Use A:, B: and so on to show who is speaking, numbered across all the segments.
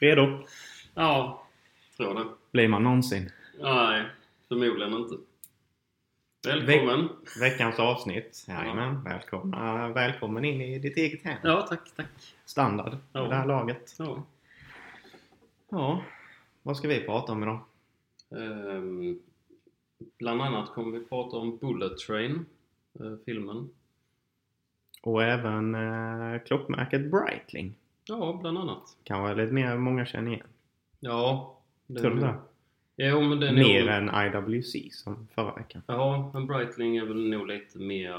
A: Redo?
B: ja, tror det.
A: Blir man någonsin?
B: Nej, förmodligen inte. Välkommen.
A: Veckans avsnitt. Jajamän, välkomna. Välkommen in i ditt eget hem.
B: Ja, tack, tack.
A: Standard
B: Ja.
A: i det här laget.
B: Ja.
A: Ja, vad ska vi prata om idag?
B: Ehm, bland annat kommer vi prata om Bullet Train, eh, filmen.
A: Och även eh, klockmärket Breitling.
B: Ja, bland annat.
A: Kan vara lite mer många känner igen.
B: Ja. den-
A: Tror du det?
B: Jo, men den är
A: Mer
B: nog-
A: än IWC som förra veckan.
B: Ja, men Breitling är väl nog lite mer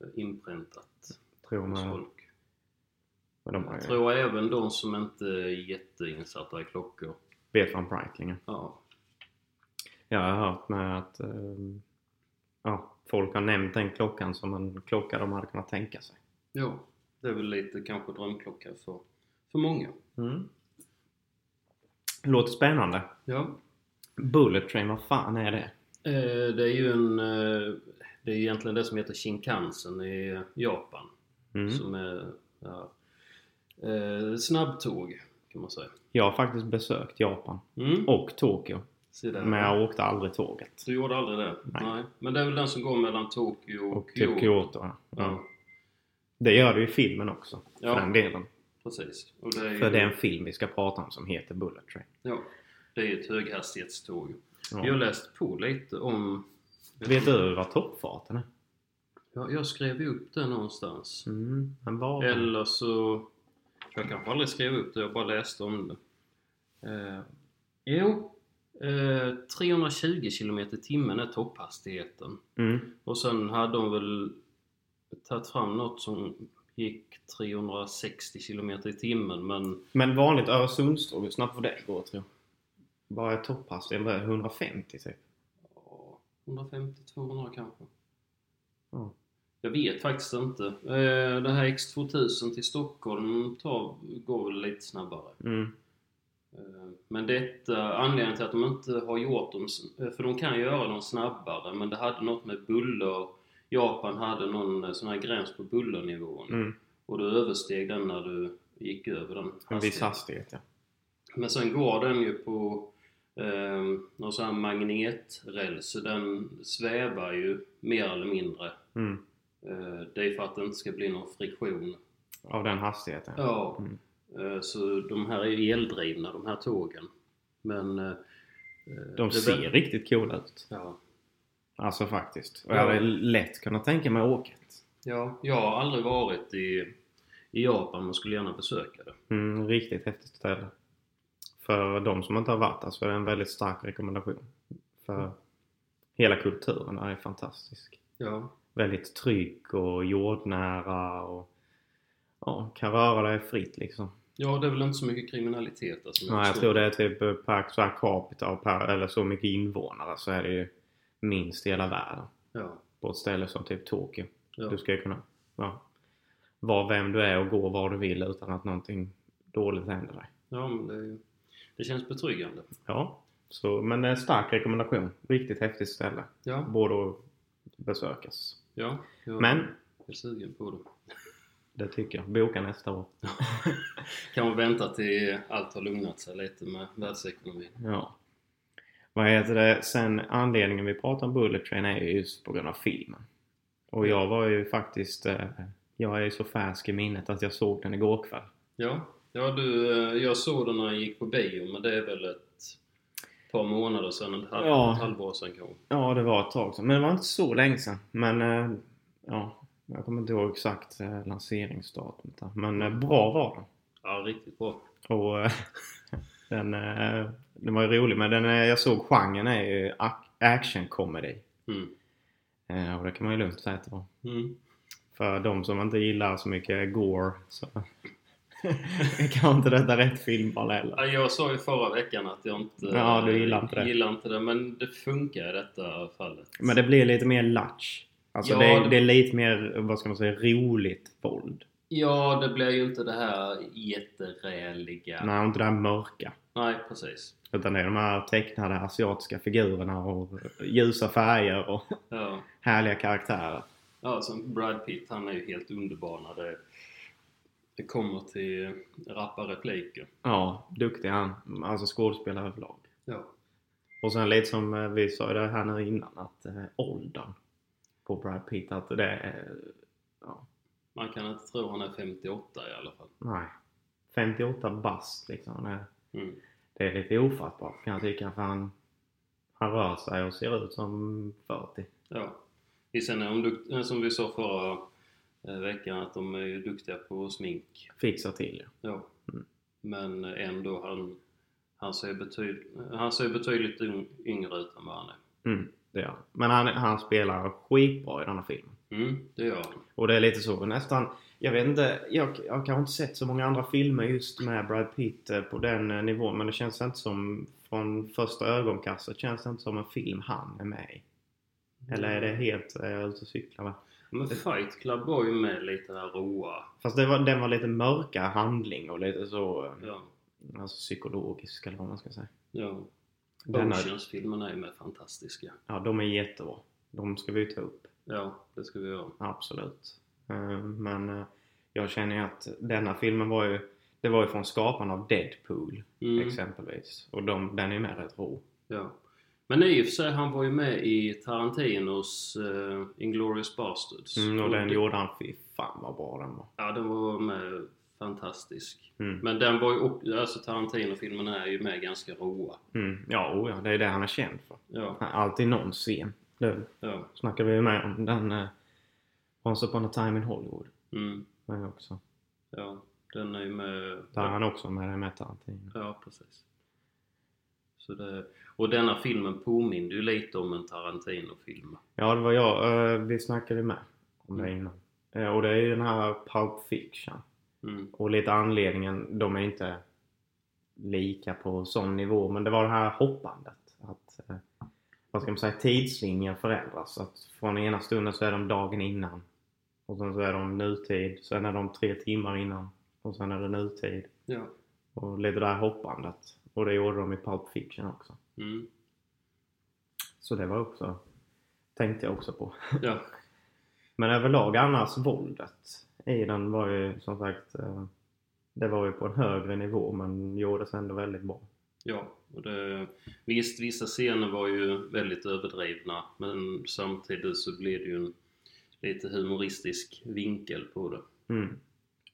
B: eh, inpräntat
A: Tror
B: hos
A: man.
B: folk.
A: Och de har
B: Jag
A: ju,
B: tror även de som inte är jätteinsatta i klockor.
A: vet vad Breitling är.
B: Ja.
A: Jag har hört med att eh, ja, folk har nämnt den klockan som en klocka de hade kunnat tänka sig.
B: ja, det är väl lite kanske drömklocka för, för många.
A: Mm. Låter spännande.
B: Ja.
A: Bullet Train, vad fan är det?
B: Eh, Det är ju en... eh, Det är egentligen det som heter Shinkansen i Japan.
A: Mm.
B: Som är... Ja, eh, snabbtåg kan man säga.
A: Jag har faktiskt besökt Japan
B: Mm.
A: och Tokyo,
B: Se där.
A: men jag åkte aldrig tåget.
B: Du gjorde aldrig det?
A: Nej.
B: Men det är väl den som går mellan Tokyo och,
A: Och typ Kyoto. Ja.
B: Ja,
A: Ja. Det gör det ju i filmen också,
B: Ja.
A: för den delen.
B: precis. Och det är ju,
A: För det är en film vi ska prata om som heter Bullet Train.
B: ja, det är ju ett höghastighetståg. Jag har
A: Ja.
B: läst på lite om...
A: Vet du vad toppfarten är?
B: Ja, jag skrev ju upp det någonstans.
A: Mm, men vad?
B: Eller så... Jag kanske aldrig skrev upp det, jag bara läste om det. Eh, jo, eh, 320 km i timmen är topphastigheten.
A: Mm.
B: Och sen hade de väl tagit fram något som gick 360 km i timmen, men
A: Men vanligt Öresundståg, hur snabbt får det gå tror jag? Bara topphastigheten, vad är det? 150 typ?
B: ja, 150-200 kanske.
A: Ja.
B: Jag vet faktiskt inte. Eh, Det här X2000 till Stockholm tar, går väl lite snabbare.
A: Mm.
B: Eh, Men detta, anledningen till att de inte har gjort dem, s- eh, för de kan göra dem snabbare, men det hade något med buller, Japan hade någon eh, sån här gräns på bullernivån
A: Mm.
B: och du översteg den när du gick över den
A: En viss
B: hastigheten.
A: hastighet ja.
B: Men sen går den ju på eh, någon sån här magnetrels, så den svävar ju mer eller mindre.
A: Mm.
B: Eh, det är för att det inte ska bli någon friktion.
A: Av den hastigheten
B: Ja,
A: Mm.
B: eh, så de här är ju eldrivna de här tågen. Men... eh,
A: De
B: det
A: ser
B: väl-
A: riktigt coola ut.
B: Ja.
A: Alltså faktiskt. Och
B: Ja.
A: jag hade lätt kunnat tänka mig åket.
B: ja, jag har aldrig varit i, i Japan men skulle gärna besöka det.
A: Mm, riktigt häftigt ställe. För de som inte har varit där så är det en väldigt stark rekommendation.
B: Mm.
A: För hela kulturen där är fantastisk.
B: Ja,
A: Väldigt trygg och jordnära och ja, kan röra dig fritt liksom.
B: ja det är väl inte så mycket kriminalitet där som
A: Nej, jag tror det är typ eh, per, så här capita och per, eller så mycket invånare så är det ju minst i hela världen.
B: Ja,
A: På ett ställe som typ Tokyo.
B: ja.
A: Du ska ju kunna ja, vara vem du är och gå var du vill utan att någonting dåligt händer dig.
B: ja men det, är ju- det känns betryggande.
A: Ja, så, men det är en stark rekommendation. Riktigt häftigt ställe.
B: Ja,
A: Borde att besökas.
B: ja. Jag
A: Men
B: är sugen på det.
A: det tycker jag. Boka nästa år.
B: Kan man vänta till allt har lugnat sig lite med världsekonomin.
A: Ja. Vad heter det? Sen anledningen vi pratar om Bullet Train är ju just på grund av filmen. Och jag var ju faktiskt... eh, Jag är ju så färsk i minnet att jag såg den igår kväll.
B: Ja, ja du, eh, jag såg den när jag gick på bio men det är väl ett par månader sedan, ett, halv,
A: Ja.
B: ett halvår sedan kanske.
A: Ja, det var ett tag sedan. Men det var inte så länge sedan. Men eh, ja, jag kommer inte ihåg exakt eh, lanseringsdatumet. där. Men eh, bra var den.
B: Ja, riktigt bra.
A: Och eh, den, eh, den var ju rolig. Men den eh, jag såg genren är ju ac- action comedy.
B: Mm.
A: Eh, Och det kan man ju lugnt säga att det var.
B: Mm.
A: För de som inte gillar så mycket gore så kan inte detta rätt filmval heller.
B: Ja, jag sa ju förra veckan att jag inte eh,
A: Ja, du gillar inte det.
B: gillar inte det men det funkar i detta fallet.
A: Men det blir lite mer latch. Alltså
B: Ja,
A: det, är,
B: det-
A: det är lite mer, vad ska man säga, roligt våld.
B: Ja, det blir ju inte det här jätteräliga.
A: Nej, och inte det här mörka.
B: Nej, precis.
A: Utan det är de här tecknade asiatiska figurerna och ljusa färger och
B: Ja.
A: härliga karaktärer.
B: Ja, som Brad Pitt, han är ju helt underbar när det det kommer till rappa repliker.
A: Ja, duktig han. Alltså skådespelare överlag.
B: Ja.
A: Och sen lite som eh, vi sa det här nu innan att eh, åldern på Brad Pitt, att det är... Ja,
B: Man kan inte tro han är 58 i alla fall.
A: nej. 58 bast liksom. Det,
B: Mm.
A: det är lite ofattbart kan jag tycka för han, han rör sig och ser ut som 40.
B: Ja. Vi- Sen är de dukt- eh, som vi sa förra eh, veckan att de är ju duktiga på smink.
A: Fixar till det.
B: Ja.
A: Mm.
B: Men ändå, han, han, ser betyd, eh, han ser betydligt yng- yngre ut än vad han är.
A: Mm, det gör han. Men han, han spelar skitbra i den här filmen.
B: Mm, det gör han.
A: Och det är lite så nästan, jag vet inte, jag, jag har inte sett så många andra filmer just med Brad Pitt eh, på den eh, nivån men det känns inte som, från första ögonkastet känns det inte som en film han är med i. Eller är det helt eh, ute och cyklar? va?
B: Men Fight Club var ju med lite här roa.
A: Fast det var, den var lite mörka handling och lite så, eh,
B: Ja.
A: alltså psykologisk eller vad man ska säga.
B: ja.
A: Den är-
B: Oceans-filmerna är med fantastiska.
A: Ja, de är jättebra. De ska vi ju ta upp.
B: Ja, det ska vi göra.
A: Absolut. Eh, Men eh, jag känner ju att denna filmen var ju Det var ju från skaparen av Deadpool
B: Mm,
A: exempelvis. Och de, den är ju med rätt rå.
B: ja. Men i och för sig, han var ju med i Tarantinos uh, Inglourious Basterds.
A: Mm, och den
B: det-
A: gjorde han, fy fan vad bra den var.
B: Ja, den var med fantastisk.
A: Mm.
B: Men den var ju också, alltså Tarantino-filmerna är ju med ganska roa.
A: Mm. Ja, oh ja, det är det han är känd för.
B: Ja,
A: Han är Alltid någon scen. Det
B: ja.
A: snackade vi ju med om den eh, Once upon a time in Hollywood.
B: Mm,
A: Men också.
B: ja. Den är ju med...
A: Där är han också med, med Tarantino.
B: Ja, precis. Så det, och denna filmen påminner ju lite om en Tarantino-film.
A: Ja, det var jag. eh, Vi snackade ju med om det
B: Mm.
A: innan. Eh, Och det är ju den här Pulp Fiction.
B: Mm,
A: Och lite anledningen, de är inte lika på sån nivå, men det var det här hoppandet. Att, eh, vad ska man säga, tidslinjen förändras. Att från ena stunden så är de dagen innan. Och sen så är de nutid, sen är de tre timmar innan. Och sen är det nutid.
B: ja.
A: Och lite det här hoppandet. Och det gjorde de i Pulp Fiction också.
B: Mm,
A: Så det var också, tänkte jag också på.
B: ja.
A: Men överlag annars, våldet i den var ju som sagt, eh, det var ju på en högre nivå men gjordes ändå väldigt bra.
B: Ja, och det, visst vissa scener var ju väldigt överdrivna men samtidigt så blev det ju en lite humoristisk vinkel på det.
A: Mm.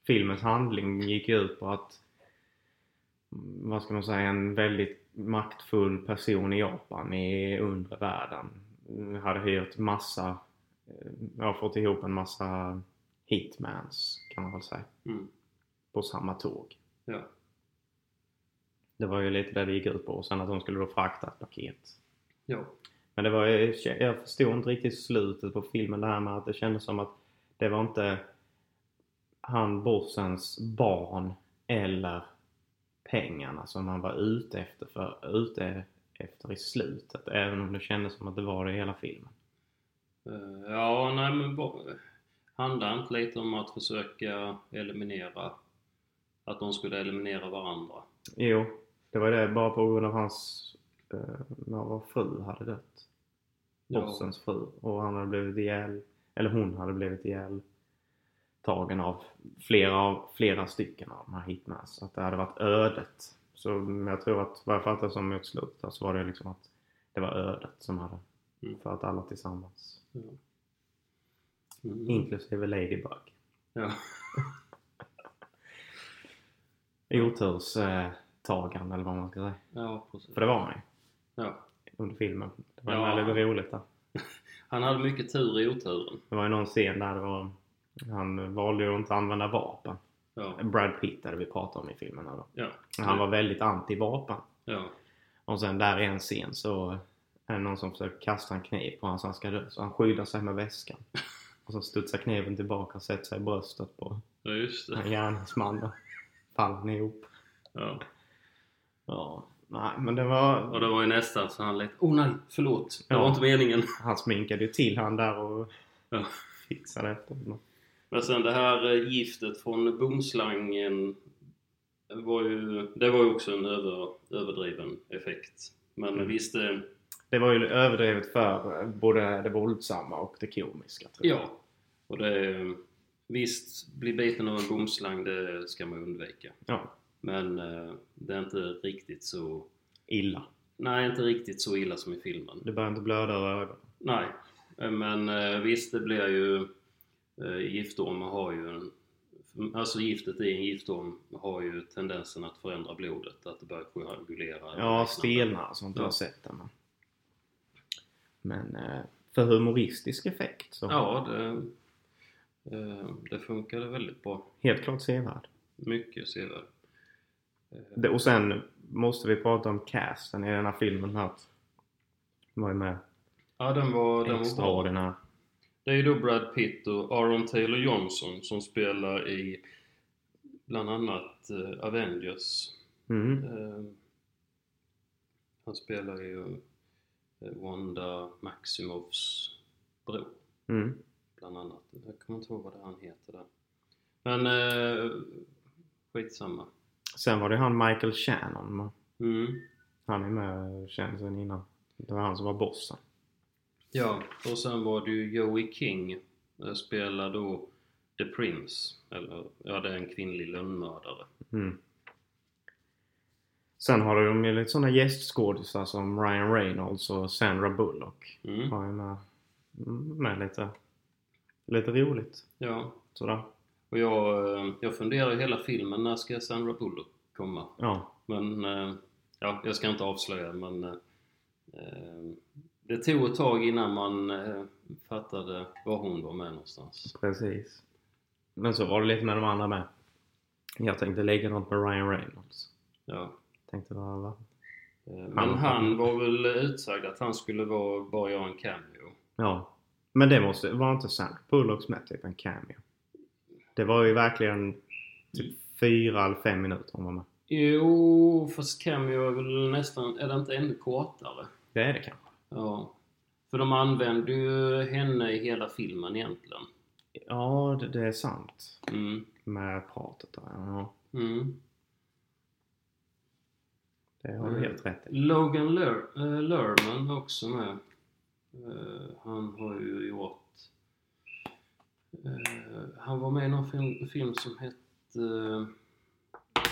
A: Filmens handling gick ju ut på att, mm, vad ska man säga, en väldigt maktfull person i Japan i undre världen mm, hade hyrt massa, eh, ja fått ihop en massa hitmans kan man väl säga,
B: Mm,
A: på samma tåg.
B: ja.
A: Det var ju lite det det gick ut på och sen att de skulle då frakta ett paket.
B: Ja.
A: Men det var ju, jag förstod inte riktigt slutet på filmen det här med att det kändes som att det var inte han bossens barn eller pengarna som han var ute efter, för, ute efter i slutet. Även om det kändes som att det var det i hela filmen.
B: Eh, ja, nej men bo- handlar inte lite om att försöka eliminera att de skulle eliminera varandra?
A: Jo, det var det bara på grund av hans, eh, när vår fru hade dött. Bossens fru. Och han hade blivit ihjäl, eller hon hade blivit ihjäl tagen av flera, av flera stycken av de här hitmans. Så Att det hade varit ödet. Så jag tror att, vad jag fattar som mot slutet där så var det liksom att det var ödet som hade
B: Mm.
A: fört alla tillsammans.
B: Ja. Mm.
A: Inklusive Ladybug.
B: Ja.
A: Oturstagaren eller vad man ska säga.
B: ja, precis.
A: För det var han ju
B: Ja.
A: under filmen. Det var
B: Ja.
A: väldigt roligt där.
B: Han hade mycket tur i oturen.
A: Det var ju någon scen där det var, han valde ju att inte använda vapen.
B: Ja.
A: Brad Pitt är det vi pratar om i filmen här då.
B: Ja.
A: Han var väldigt anti-vapen.
B: ja.
A: Och sen där i en scen så är det någon som försöker kasta en kniv på honom så han ska dö. Så han skyddar sig med väskan. Och så studsar kniven tillbaka och sätter sig i bröstet på
B: Ja, just det.
A: gärningsmannen. Faller han ihop.
B: Ja.
A: Ja, nej men det
B: Och
A: var...
B: det var ju nästan så han lät Åh nej, förlåt! Det
A: Ja.
B: var inte meningen.
A: Han sminkade ju till han där och
B: Ja.
A: fixade efter honom.
B: Men sen det här eh, giftet från bomslangen var ju, det var ju också en över, överdriven effekt. Men
A: Mm.
B: visst, eh,
A: Det var ju överdrivet för både det våldsamma och det komiska tror jag.
B: ja. Och det, eh, Visst, bli biten av en bomslang det ska man undvika.
A: Ja,
B: Men eh, det är inte riktigt så...
A: illa.
B: Nej, inte riktigt så illa som i filmen.
A: Du börjar inte blöda över ögonen.
B: Nej, eh, men eh, visst det blir ju... Eh, giftormar har ju en... Alltså giftet i en giftorm har ju tendensen att förändra blodet, att det börjar koagulera. eller
A: Ja,
B: liknande.
A: stelnar och sånt. Jag har
B: Ja.
A: sett det. Men, men eh, för humoristisk effekt så
B: Ja, det, eh, det funkade väldigt bra.
A: helt klart sevärd.
B: Mycket sevärd.
A: Det- Och sen måste vi prata om casten i den här filmen här. De var ju med
B: Ja, den var, den var bra.
A: extraordinär.
B: Det är ju då Brad Pitt och Aaron Taylor Johnson som spelar i bland annat eh, Avengers.
A: Mm.
B: Eh, han spelar ju eh, Wanda Maximovs bror,
A: Mm.
B: bland annat. Jag kommer inte ihåg vad det han heter där. Men eh, skitsamma.
A: Sen var det han Michael Shannon. men
B: Mm.
A: Han är med känns sen innan. Det var han som var bossen.
B: Ja, och sen var det ju Joey King. eh, Spelar då The Prince. Eller, ja, det är en kvinnlig lönnmördare.
A: Mm. Sen har de ju lite sådana gästskådisar som Ryan Reynolds och Sandra Bullock.
B: Mm.
A: Har ju med, Mm, med lite, lite roligt.
B: Ja,
A: Sådär.
B: och jag, eh, jag funderar ju hela filmen, när ska Sandra Bullock komma?
A: Ja.
B: Men, eh, ja, jag ska inte avslöja men eh, eh, det tog ett tag innan man eh, fattade var hon var med någonstans.
A: Precis. Men så var det lite med de andra med. Jag tänkte likadant med Ryan Reynolds.
B: Ja.
A: Tänkte bara, va?
B: Eh, Men han var väl utsagd att han skulle vara, bara göra en cameo.
A: Ja. Men det måste, var inte Sandra Bullocks med typ en cameo? Det var ju verkligen typ fyra eller fem minuter hon var med.
B: Jo, fast cameo är väl nästan, är det inte ännu kortare?
A: Det är det kanske.
B: Ja. För de använder ju henne i hela filmen egentligen.
A: Ja, det, det är sant.
B: Mm.
A: Med pratet där. Ja,
B: Mm.
A: det har du
B: Mm.
A: helt rätt i.
B: Logan Ler- eh, Lerman var också med. Eh, han har ju gjort... eh, han var med i någon film, film som hette eh,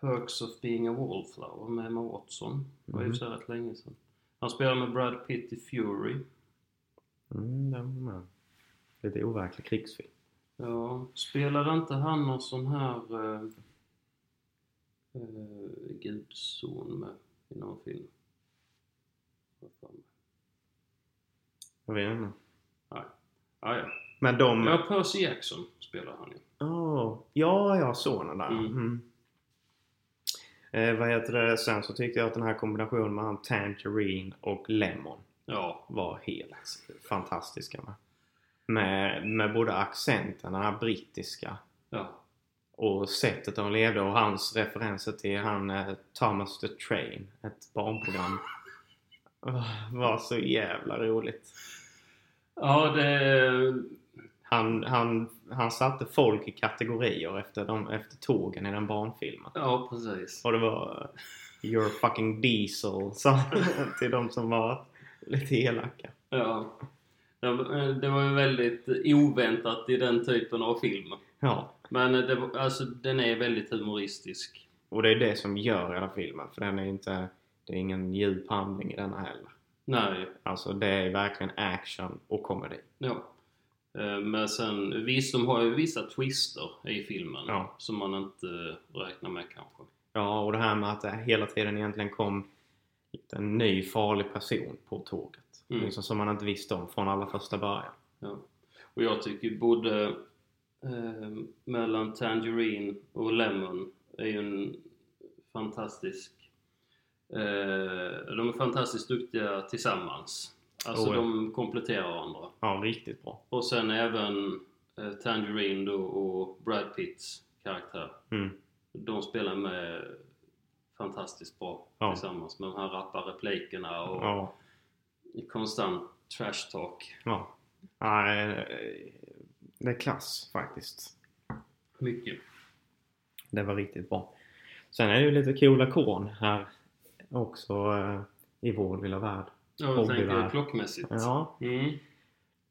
B: Perks of being a wallflower med Emma Watson. Det var ju
A: Mhm.
B: så här rätt länge sedan. Han spelar med Brad Pitt i Fury.
A: Mm, den var med. Lite overklig krigsfilm.
B: Ja, spelade inte han någon sån här eh, eh, gudson med i någon film? Vad fan?
A: Jag vet inte.
B: Ah, ja.
A: Men de...
B: Ja, Percy Jackson spelar han ju.
A: Åh, ja, ja, sonen där.
B: Mm.
A: Mm. Eh, vad heter det? Sen så tyckte jag att den här kombinationen med han Tangerine och Lemon
B: Ja.
A: var helt fantastiska med. Med, med både accenten, den här brittiska
B: Ja.
A: och sättet de levde och hans referenser till han eh, Thomas the Train, ett barnprogram. Ah, var så jävla roligt.
B: Ja, det...
A: Han, han, han satte folk i kategorier efter, de, efter tågen i den barnfilmen.
B: Ja, precis.
A: Och det var eh, You're fucking diesel sa han till de som var lite elaka.
B: Ja. Det var- det var ju väldigt oväntat i den typen av film.
A: Ja.
B: Men det var, alltså, den är väldigt humoristisk.
A: Och det är det som gör hela filmen för den är ju inte, det är ingen djup handling i denna heller.
B: Nej.
A: Alltså det är verkligen action och komedi.
B: Ja. Eh, Men sen, visst, de har ju vissa twister i filmen
A: Ja.
B: som man inte räknar med kanske.
A: Ja, och det här med att det hela tiden egentligen kom en ny farlig person på tåget.
B: Mm.
A: Liksom som man inte visste om från allra första början.
B: Ja. Och jag tycker både eh, mellan Tangerine och Lemon är ju en fantastisk... Eh, de är fantastiskt duktiga tillsammans. Alltså
A: Oh, ja.
B: de kompletterar varandra.
A: Ja, riktigt bra.
B: Och sen även eh, Tangerine då och Brad Pitts karaktär.
A: Mm.
B: De spelar med fantastiskt bra
A: Ja.
B: tillsammans med de här rappa replikerna och
A: Ja.
B: konstant trash talk.
A: ja. Nej, eh, det är klass faktiskt.
B: Mycket.
A: Det var riktigt bra. Sen är det ju lite coola korn här också eh, i vår lilla värld.
B: Ja, jag
A: Hobby
B: tänker
A: där.
B: klockmässigt.
A: Ja,
B: Mm.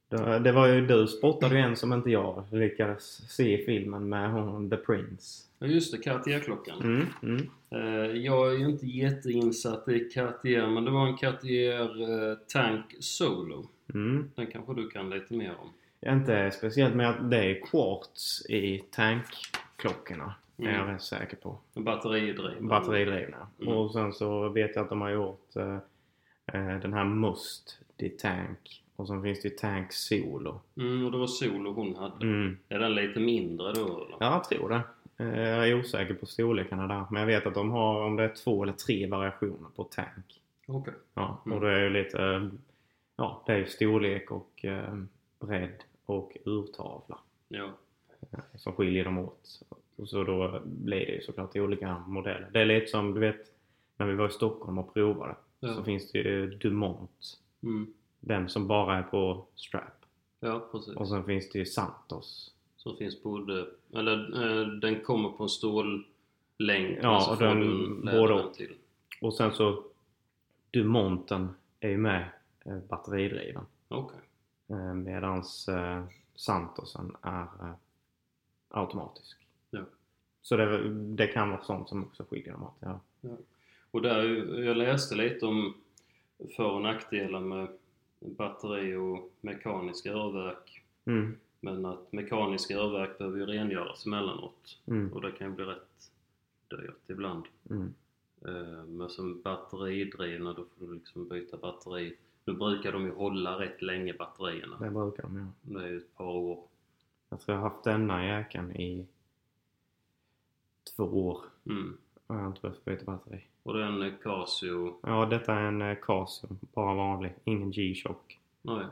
A: Det, det var ju du spottade ju en som inte jag lyckades se i filmen med hon, The Prince.
B: Ja just det, Cartier-klockan.
A: Mm, mm.
B: Eh, jag är ju inte jätteinsatt i Cartier men det var en Cartier eh, Tank Solo.
A: Mm.
B: Den kanske du kan lite mer om?
A: Inte speciellt med att det är quartz i tankklockorna. Är
B: Mm.
A: jag rätt säker på.
B: Batteridriven.
A: batteridrivna.
B: Mm.
A: Och sen så vet jag att de har gjort eh, eh, den här Must, det är Tank. Och sen finns det ju Tank Solo.
B: Mm, och det var solo hon hade.
A: Mm.
B: Är den lite mindre då eller?
A: Ja, jag tror det. Eh, jag är osäker på storlekarna där. Men jag vet att de har om det är två eller tre variationer på Tank.
B: Okej.
A: Ja,
B: Mm.
A: och det är ju lite... eh, ja, det är ju storlek och eh, bredd och urtavla
B: Ja.
A: eh, som skiljer dem åt. Och så då blir det ju såklart i olika modeller. Det är lite som du vet när vi var i Stockholm och provade.
B: Ja.
A: Så finns det ju Dumont.
B: Mm.
A: Den som bara är på strap.
B: ja, precis.
A: Och sen finns det ju Santos.
B: Som finns både... Eller eh, den kommer på en stållängd.
A: Ja,
B: men så
A: och
B: får
A: den-
B: du en läderrem
A: både-
B: till.
A: Och sen så Dumonten är ju med eh, batteridriven.
B: Okej.
A: Eh, medans eh, Santosen är eh, automatisk.
B: Ja.
A: Så det, det kan vara sånt som också skiljer dem åt. Ja.
B: Och där, är ju- jag läste lite om för och nackdelar med batteri och mekaniska urverk.
A: Mm,
B: Men att mekaniska urverk behöver ju rengöras emellanåt.
A: mm,
B: Och det kan ju bli rätt dyrt ibland.
A: mm.
B: Eh, Men som batteridrivna då får du liksom byta batteri. Nu brukar de ju hålla rätt länge batterierna.
A: Det brukar de göra.
B: Det är ju ett par år.
A: Jag tror jag har haft denna jäkeln i två år.
B: Mm.
A: Och jag har inte behövt byta batteri.
B: Och den Casio,
A: Ja, detta är en eh, Casio. Bara vanlig. Ingen G-Shock.
B: nej.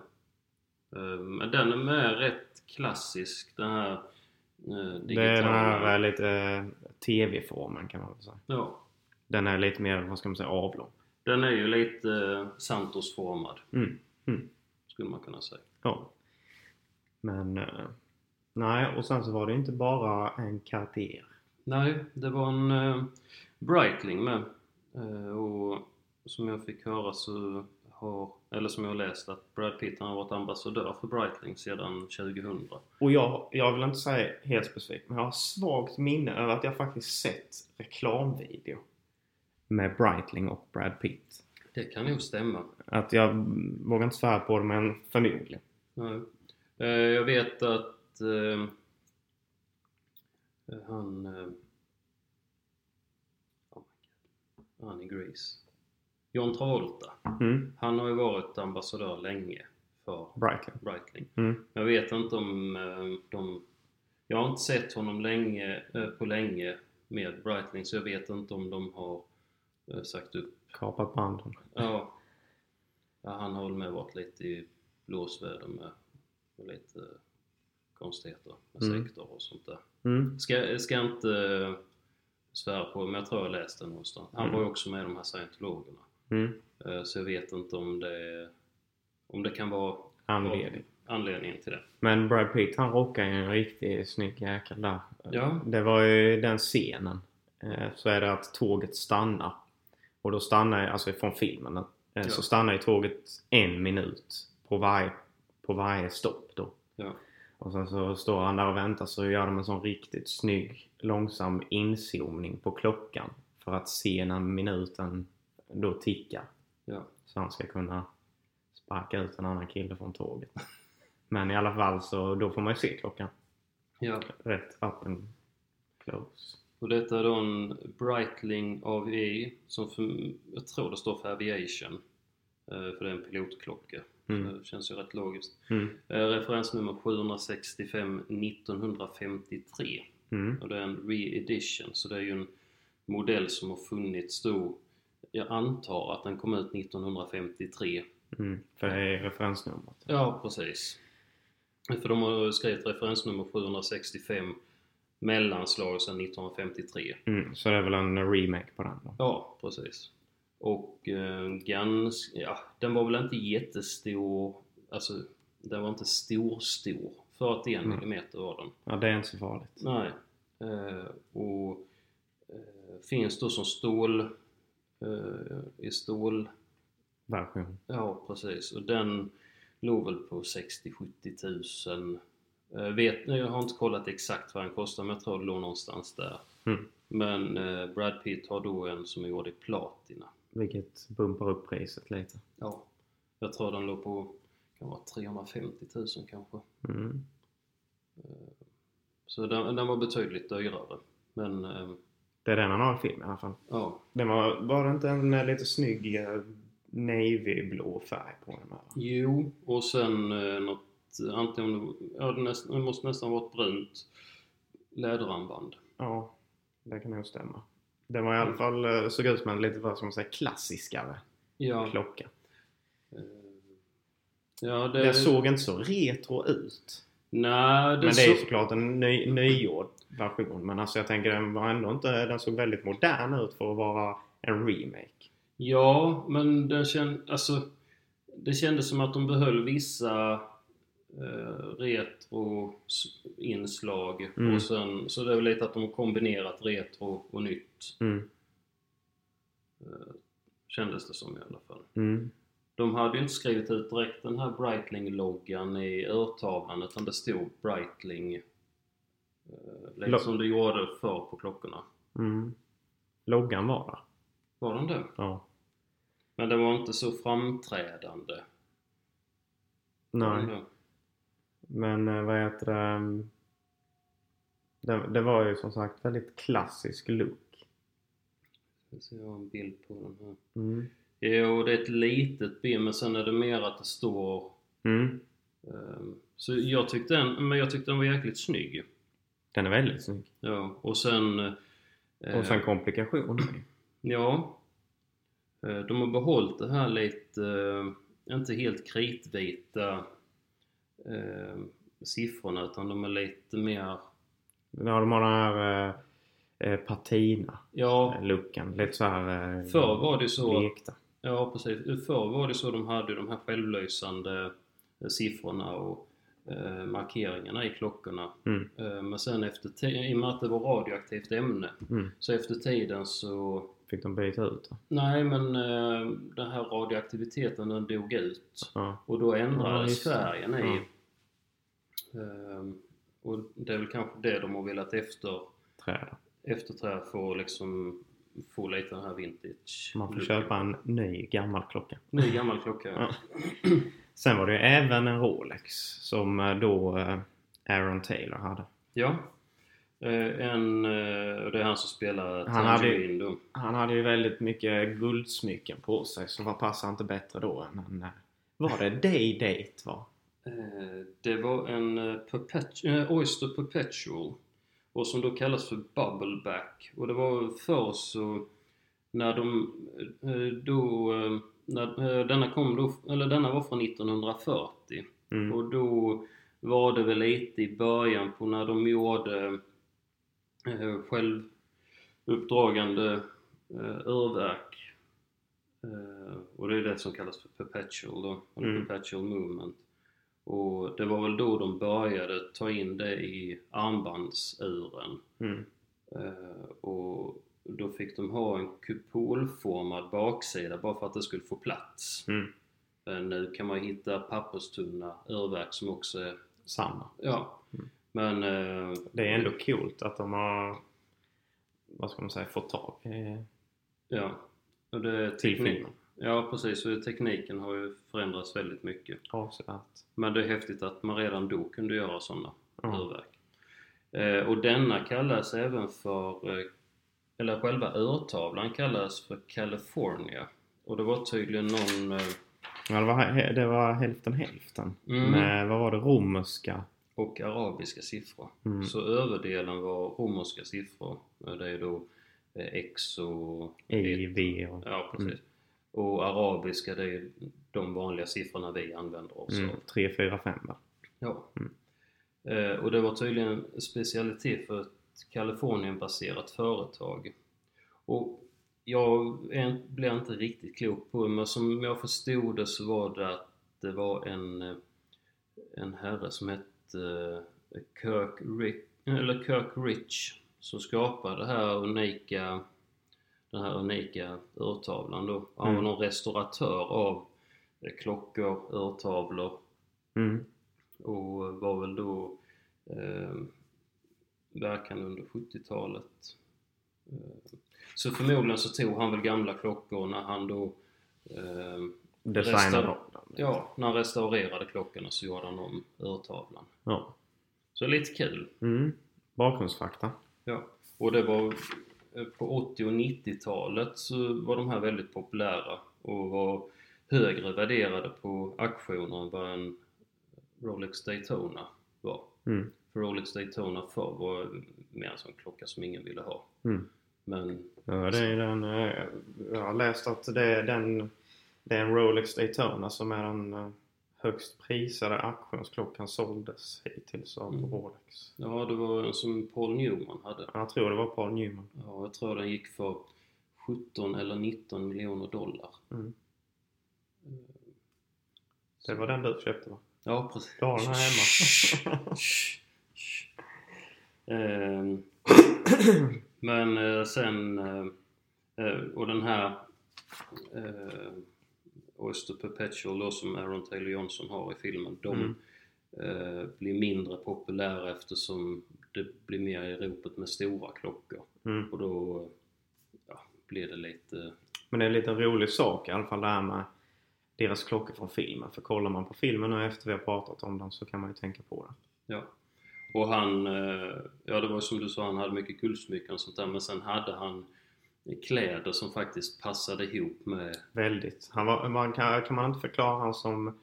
B: Eh, Men den är med rätt klassisk den här eh,
A: Det är den här
B: digitala.
A: eh, lite eh, TV-formen kan man väl säga.
B: Ja.
A: Den är lite mer, vad ska man säga, avlång.
B: Den är ju lite eh, Santos-formad
A: Mm. Mm.
B: skulle man kunna säga.
A: Ja. Men... eh, Nej, och sen så var det inte bara en Cartier.
B: Nej, det var en eh, Breitling med. Eh, och som jag fick höra så har, eller som jag har läst att Brad Pitt han har varit ambassadör för Breitling sedan 2000.
A: Och jag, jag vill inte säga helt specifikt, men jag har svagt minne över att jag faktiskt sett reklamvideo med Breitling och Brad Pitt.
B: Det kan nog stämma.
A: Att jag mm, vågar inte svära på det, men förmodligen.
B: Nej. Eh, jag vet att eh, han... Eh, oh my God. han i Grease. John Travolta.
A: Mm.
B: Han har ju varit ambassadör länge för
A: Breitling.
B: Breitling.
A: Mm.
B: Jag vet inte om eh, de... Jag har inte sett honom länge, eh, på länge med Breitling så jag vet inte om de har eh, sagt upp...
A: Kapat banden.
B: Ja, ja han har väl med varit lite i blåsväder med, med lite eh, konstigheter med
A: Mm.
B: sektor och sånt där.
A: Mm.
B: Ska, ska jag inte eh, svära på men jag tror jag läste det någonstans. Han
A: Mm.
B: var ju också med i de här scientologerna.
A: Mm.
B: Eh, Så jag vet inte om det, om det kan vara
A: Anledning.
B: anledningen till det.
A: Men Brad Pitt han rockar ju en riktigt snygg jäkel där.
B: Ja.
A: Det var ju den scenen. Eh, Så är det att tåget stannar. Och då stannar ju, alltså från filmen, eh,
B: Ja.
A: så stannar ju tåget en minut på varje, på varje stopp då.
B: Ja.
A: Och sen så står han där och väntar så gör de en sån riktigt snygg långsam inzoomning på klockan. För att se när minuten då tickar.
B: Ja.
A: Så han ska kunna sparka ut en annan kille från tåget. Men i alla fall så då får man ju se klockan.
B: ja.
A: Rätt up and close.
B: Och detta är då en Breitling AVE som för, jag tror det står för Aviation. eh, För det är en pilotklocka.
A: Mm.
B: Så det känns ju rätt logiskt.
A: Mm.
B: Eh, Referensnummer 765 1953.
A: Mm.
B: Och det är en re-edition. Så det är ju en modell som har funnits då. Jag antar att den kom ut 1953.
A: Mm. För det är referensnumret.
B: Ja, precis. För de har skrivit referensnummer 765 mellanslag sedan 1953.
A: Mm. Så det är väl en remake på den då.
B: Ja, precis. Och eh, ganska, ja, den var väl inte jättestor, alltså den var inte stor stor. 41
A: Mm.
B: millimeter var den.
A: Ja, det är inte så farligt.
B: Nej. Eh, och eh, finns då som stål, eh, i stål,
A: Version.
B: ja precis. Och den, låg väl på 60-70 000. Eh, vet, jag har inte kollat exakt vad han kostar men jag tror det låg någonstans där.
A: Mm.
B: Men eh, Brad Pitt har då en som är gjord i platina.
A: Vilket bumpar upp priset lite.
B: Ja. Jag tror den låg på kan vara 350 000 kanske. Eh,
A: Mm.
B: Så den, den var betydligt dyrare. Men eh,
A: Det är den han har i filmen i alla fall.
B: ja,
A: Den var, var det inte en eh, lite snygg eh, navyblå färg på den här? va?
B: jo och sen eh, något, antingen, det- ja det, näst, det måste nästan vara ett brunt läderarmband.
A: Ja, det kan nog stämma. Den var i alla fall, eh, såg ut som en lite, vad ska man säga, klassiskare
B: Ja,
A: klocka.
B: eh, ja det,
A: Den såg inte så retro ut.
B: Nej, det,
A: Men det är ju
B: så,
A: såklart en ny, nygjord version. Men alltså jag tänker den var ändå inte... Den såg väldigt modern ut för att vara en remake.
B: Ja, men den känd, alltså, det kändes som att de behöll vissa eh, retro-inslag.
A: Mm.
B: Och sen, så det är väl lite att de har kombinerat retro och nytt. eh,
A: Mm.
B: Kändes det som i alla fall.
A: Mm.
B: De hade ju inte skrivit ut direkt den här Breitling-loggan i urtavlan utan det stod Breitling. Eh, lite
A: Lo-
B: som det gjorde förr på klockorna.
A: Mm. Loggan var där.
B: Var den det?
A: Ja.
B: Men det var inte så framträdande.
A: Nej. Men eh, vad heter det? ehm, Det, det var ju som sagt väldigt klassisk look.
B: Ska se, jag har en bild på den här.
A: Mm.
B: Jo, det är ett litet ben men sen är det mer att det står...
A: Mm.
B: ehm, så jag tyckte, den, men jag tyckte den var jäkligt snygg.
A: Den är väldigt snygg.
B: Ja, och sen... eh,
A: Och sen komplikationer. ju.
B: Ja. Eh, de har behållit det här lite, eh, inte helt kritvita eh, siffrorna utan de är lite mer...
A: Ja, de har den här eh, eh, patina-looken.
B: Ja,
A: Lite så här... Eh,
B: förr var det så...
A: blekta.
B: Ja, precis. Förr var det så de hade de här självlysande eh, siffrorna och eh, markeringarna i klockorna.
A: Mm.
B: Eh, men sen efter ti- i och med att det var radioaktivt ämne,
A: Mm.
B: så efter tiden så...
A: Fick de byta ut det?
B: Nej, men eh, den här radioaktiviteten den dog ut
A: Ja.
B: och
A: Ja,
B: då ändrades
A: just det.
B: färgen i. Eh, och det är väl kanske det de har velat efter,
A: Träd.
B: efterträda för att liksom få lite den här vintage
A: Man får
B: looken.
A: köpa en ny gammal klocka.
B: Ny gammal klocka.
A: Ja. Sen var det ju även en Rolex som eh, då eh, Aaron Taylor hade.
B: Ja. Eh, En, eh, och det är han som spelar
A: Han hade-
B: Tangerine då.
A: Han hade ju väldigt mycket guldsmycken på sig så vad passar inte bättre då än en... eh, Var det Day Date va?
B: Eh, Det var en eh, perpetu- eh, Oyster Perpetual och som då kallas för Bubbleback. Och det var förr så när de eh, då eh, när, eh, denna kom då, eller denna var från 1940
A: Mm.
B: och då var det väl lite i början på när de gjorde eh, självuppdragande eh, urverk. Eh, och det är det som kallas för perpetual då, eller
A: Mm.
B: perpetual movement. Och det var väl då de började ta in det i armbandsuren.
A: Mm.
B: Eh, och då fick de ha en kupolformad baksida bara för att det skulle få plats.
A: Mm.
B: Eh, Nu kan man hitta papperstunna urverk som också är...
A: Samma.
B: Ja.
A: Mm.
B: Men... eh,
A: Det är ändå coolt att de har... Vad ska man säga? Fått tag i-
B: Ja. Och det,
A: till
B: teknik-
A: filmen.
B: Ja, precis. Och tekniken har ju förändrats väldigt mycket.
A: Avsevärt.
B: Men det är häftigt att man redan då kunde göra sådana
A: Ja.
B: urverk. Eh, och denna kallas även för... Eh, eller själva urtavlan kallas för California. Och det var tydligen någon... Eh,
A: Ja, det, var, det var hälften hälften.
B: Mm.
A: Med, vad var det? Romerska?
B: och arabiska siffror.
A: Mm.
B: Så överdelen var romerska siffror. Eh, Det är ju då eh, X och...
A: I, V och...
B: Ja, precis. Och arabiska, det är ju de vanliga siffrorna vi använder oss av.
A: Mm, 3, 4, 5 va?
B: Ja.
A: Mm.
B: Eh, och det var tydligen en specialitet för ett Kalifornienbaserat företag. Och jag är, blev inte riktigt klok på det, men som jag förstod det så var det att det var en, eh, en herre som hette eh, Kirk, Rick, eller Kirk Rich som skapade det här unika, den här unika urtavlan då. Han var
A: Mm.
B: någon restauratör av eh, klockor, urtavlor
A: Mm.
B: och var väl då eh, verkan under 70-talet. Eh, så förmodligen så tog han väl gamla klockor när han då eh,
A: Designar
B: Resten-
A: av dem.
B: ja, när han restaurerade klockorna så gjorde han om urtavlan.
A: Ja.
B: Så det är lite kul.
A: Mm. Bakgrundsfakta.
B: Ja. Och det var eh, på 80 och 90-talet så var de här väldigt populära och var högre värderade på auktioner än vad en Rolex Daytona var.
A: Mm.
B: För Rolex Daytona förr var mer en sån klocka som ingen ville ha.
A: Mm.
B: Men
A: Ja, det är den, eh, jag har läst att det är den det är en Rolex Daytona som är den eh, högst prisade auktionsklockan såldes hittills av
B: Mm.
A: Rolex.
B: ja, det var en som Paul Newman hade.
A: Jag tror det var Paul Newman.
B: Ja, jag tror den gick för 17 eller 19 miljoner dollar.
A: Mm. Det var den du köpte va?
B: Ja, precis.
A: Du har den här hemma.
B: Ehm, Men eh, sen, eh, eh, och den här eh, Oyster Perpetual då som Aaron Taylor Johnson har i filmen, de
A: Mm.
B: eh, blir mindre populära eftersom det blir mer i ropet med stora klockor.
A: Mm.
B: Och då eh, ja, blir det lite...
A: Men det är en liten rolig sak i alla fall det här med deras klockor från filmen. För kollar man på filmen nu efter vi har pratat om den så kan man ju tänka på det.
B: Ja. Och han, eh, ja det var som du sa, han hade mycket guldsmycken och sånt där men sen hade han kläder som faktiskt passade ihop med...
A: Väldigt. Han var, man kan, kan man inte förklara han som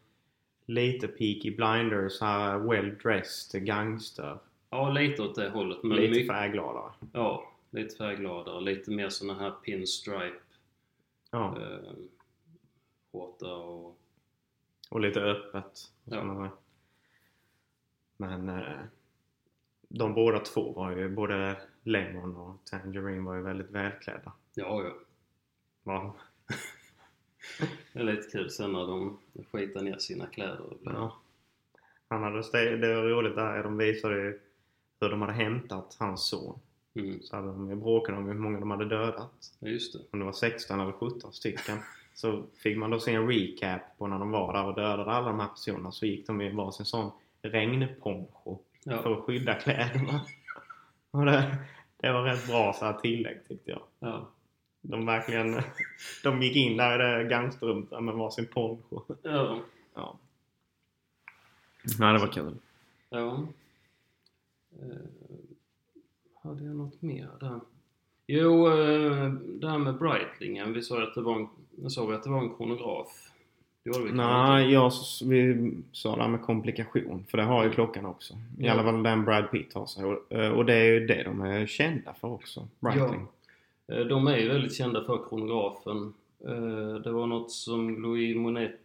A: lite Peaky Blinders, här well-dressed gangster.
B: Ja, lite åt det hållet men
A: lite
B: mycket-
A: färggladare.
B: Ja, lite färggladare, lite mer såna här pinstripe
A: Ja,
B: eh, skjorta och...
A: och lite öppet.
B: Ja.
A: som man säger. Men eh, de båda två var ju, både Lemon och Tangerine var ju väldigt välklädda.
B: Ja, ja.
A: Var de?
B: Det är lite kul sen när de skitar ner sina kläder och blir...
A: Ja. Han hade, det det var roligt där, de visade ju hur de hade hämtat hans son.
B: Mm,
A: Så hade de ju bråkat om hur många de hade dödat.
B: ja, just det.
A: om det var 16 eller 17 stycken. Så fick man då se en recap på när de var där och dödade alla de här personerna. Så gick de i varsin sån regnponcho för
B: Ja,
A: att skydda kläderna. Och det, det var rätt bra så här tillägg tyckte jag.
B: ja.
A: De verkligen... De gick in där i det gangsterrummet med varsin poncho.
B: ja.
A: Ja. Nej, det var kul.
B: Ja. Eh, hade jag något mer där? Jo, eh, det här med Breitlingen. Vi sa ju att det var en, sa vi att det var en kronograf. Det gjorde vi kanske inte.
A: Nej, jag, s- vi sa det här med komplikation. För det har ju klockan också. I
B: Ja.
A: alla fall den Brad Pitt har sig. Och, eh, och det är ju det de är kända för också. Breitling.
B: Eh, De är ju väldigt kända för kronografen. Eh, Det var något som Louis Monet,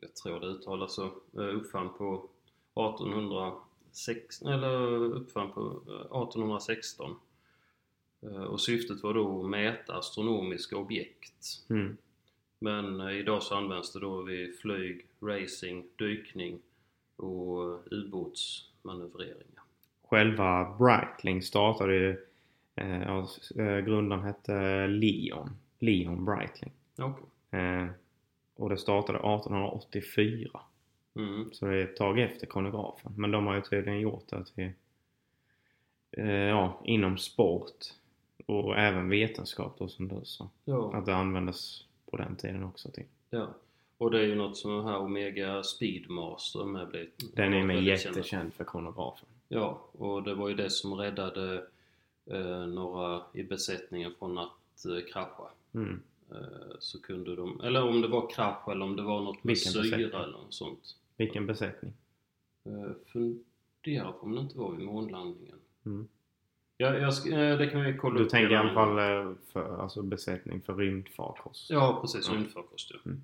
B: jag tror det uttalas så, eh, uppfann på 1806, eller uppfann på eh, 1816. Eh, Och syftet var då att mäta astronomiska objekt.
A: Mm.
B: Men eh, idag så används det då vid flyg, racing, dykning och eh, ubåtsmanövreringar.
A: Själva Breitling startade ju... Eh, ja, s- eh, grundaren hette Leon. Leon Breitling.
B: Okej.
A: Eh, och det startade 1884.
B: Mm.
A: Så det är ett tag efter kronografen. Men de har ju tydligen gjort det till, eh, ja, inom sport och även vetenskap då som du sa.
B: Ja.
A: Att det användes på den tiden också till.
B: ja. Och det är ju något som den här Omega Speedmaster med blivit.
A: Den är ju med
B: väldigt känd.
A: jättekänd för kronografen.
B: Ja, och det var ju det som räddade eh, några i besättningen från att eh, krascha.
A: Mm.
B: Eh, så kunde de, eller om det var krasch eller om det var något med
A: Vilken besättning?
B: syra eller något sånt.
A: Vilken besättning.
B: Eh, funderar på om det inte var vid månlandningen.
A: Mm.
B: Ja, jag ska, eh, det kan vi kolla
A: Du
B: upp
A: tänker i
B: redan
A: alla fall eh, för, alltså besättning för rymdfarkost.
B: Ja, precis.
A: Ja.
B: Rymdfarkost, ja.
A: Mm.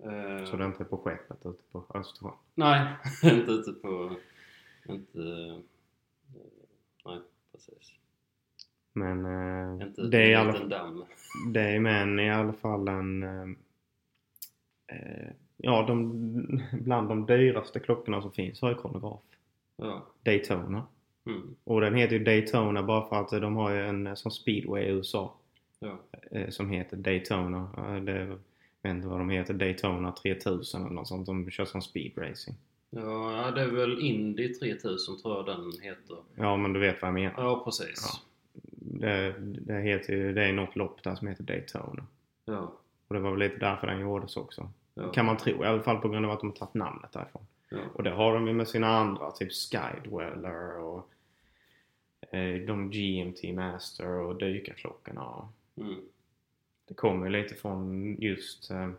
B: Eh,
A: Så det är inte på skeppet ute på Östersjön.
B: Nej, inte ute på... Inte... eh, Nej, precis.
A: Men eh,
B: Inte
A: det är i
B: en
A: alla
B: liten damm.
A: Det är men i alla fall en... eh, Eh, ja, de, bland de dyraste klockorna som finns har ju kronograf.
B: Ja.
A: Daytona.
B: Mm.
A: Och den heter ju Daytona bara för att eh, de har ju en eh, som speedway i USA
B: ja.
A: eh, som heter Daytona. Eh, det, jag vet inte vad de heter. Daytona 3000 eller något sånt. De kör som speedracing.
B: Ja, det är väl Indy 3000 tror jag den heter.
A: Ja, men du vet vad jag menar.
B: Ja, precis.
A: Det, det, heter, ju- det är något lopp där som heter Daytona.
B: Ja.
A: Och det var väl lite därför den gjordes också.
B: Ja.
A: Kan man tro. I alla fall på grund av att de har tagit namnet därifrån.
B: Ja.
A: Och det har de ju med sina andra, typ Skydweller och eh, de GMT Master och dykarklockorna. och-
B: Mm.
A: Det kommer ju lite från just, eh,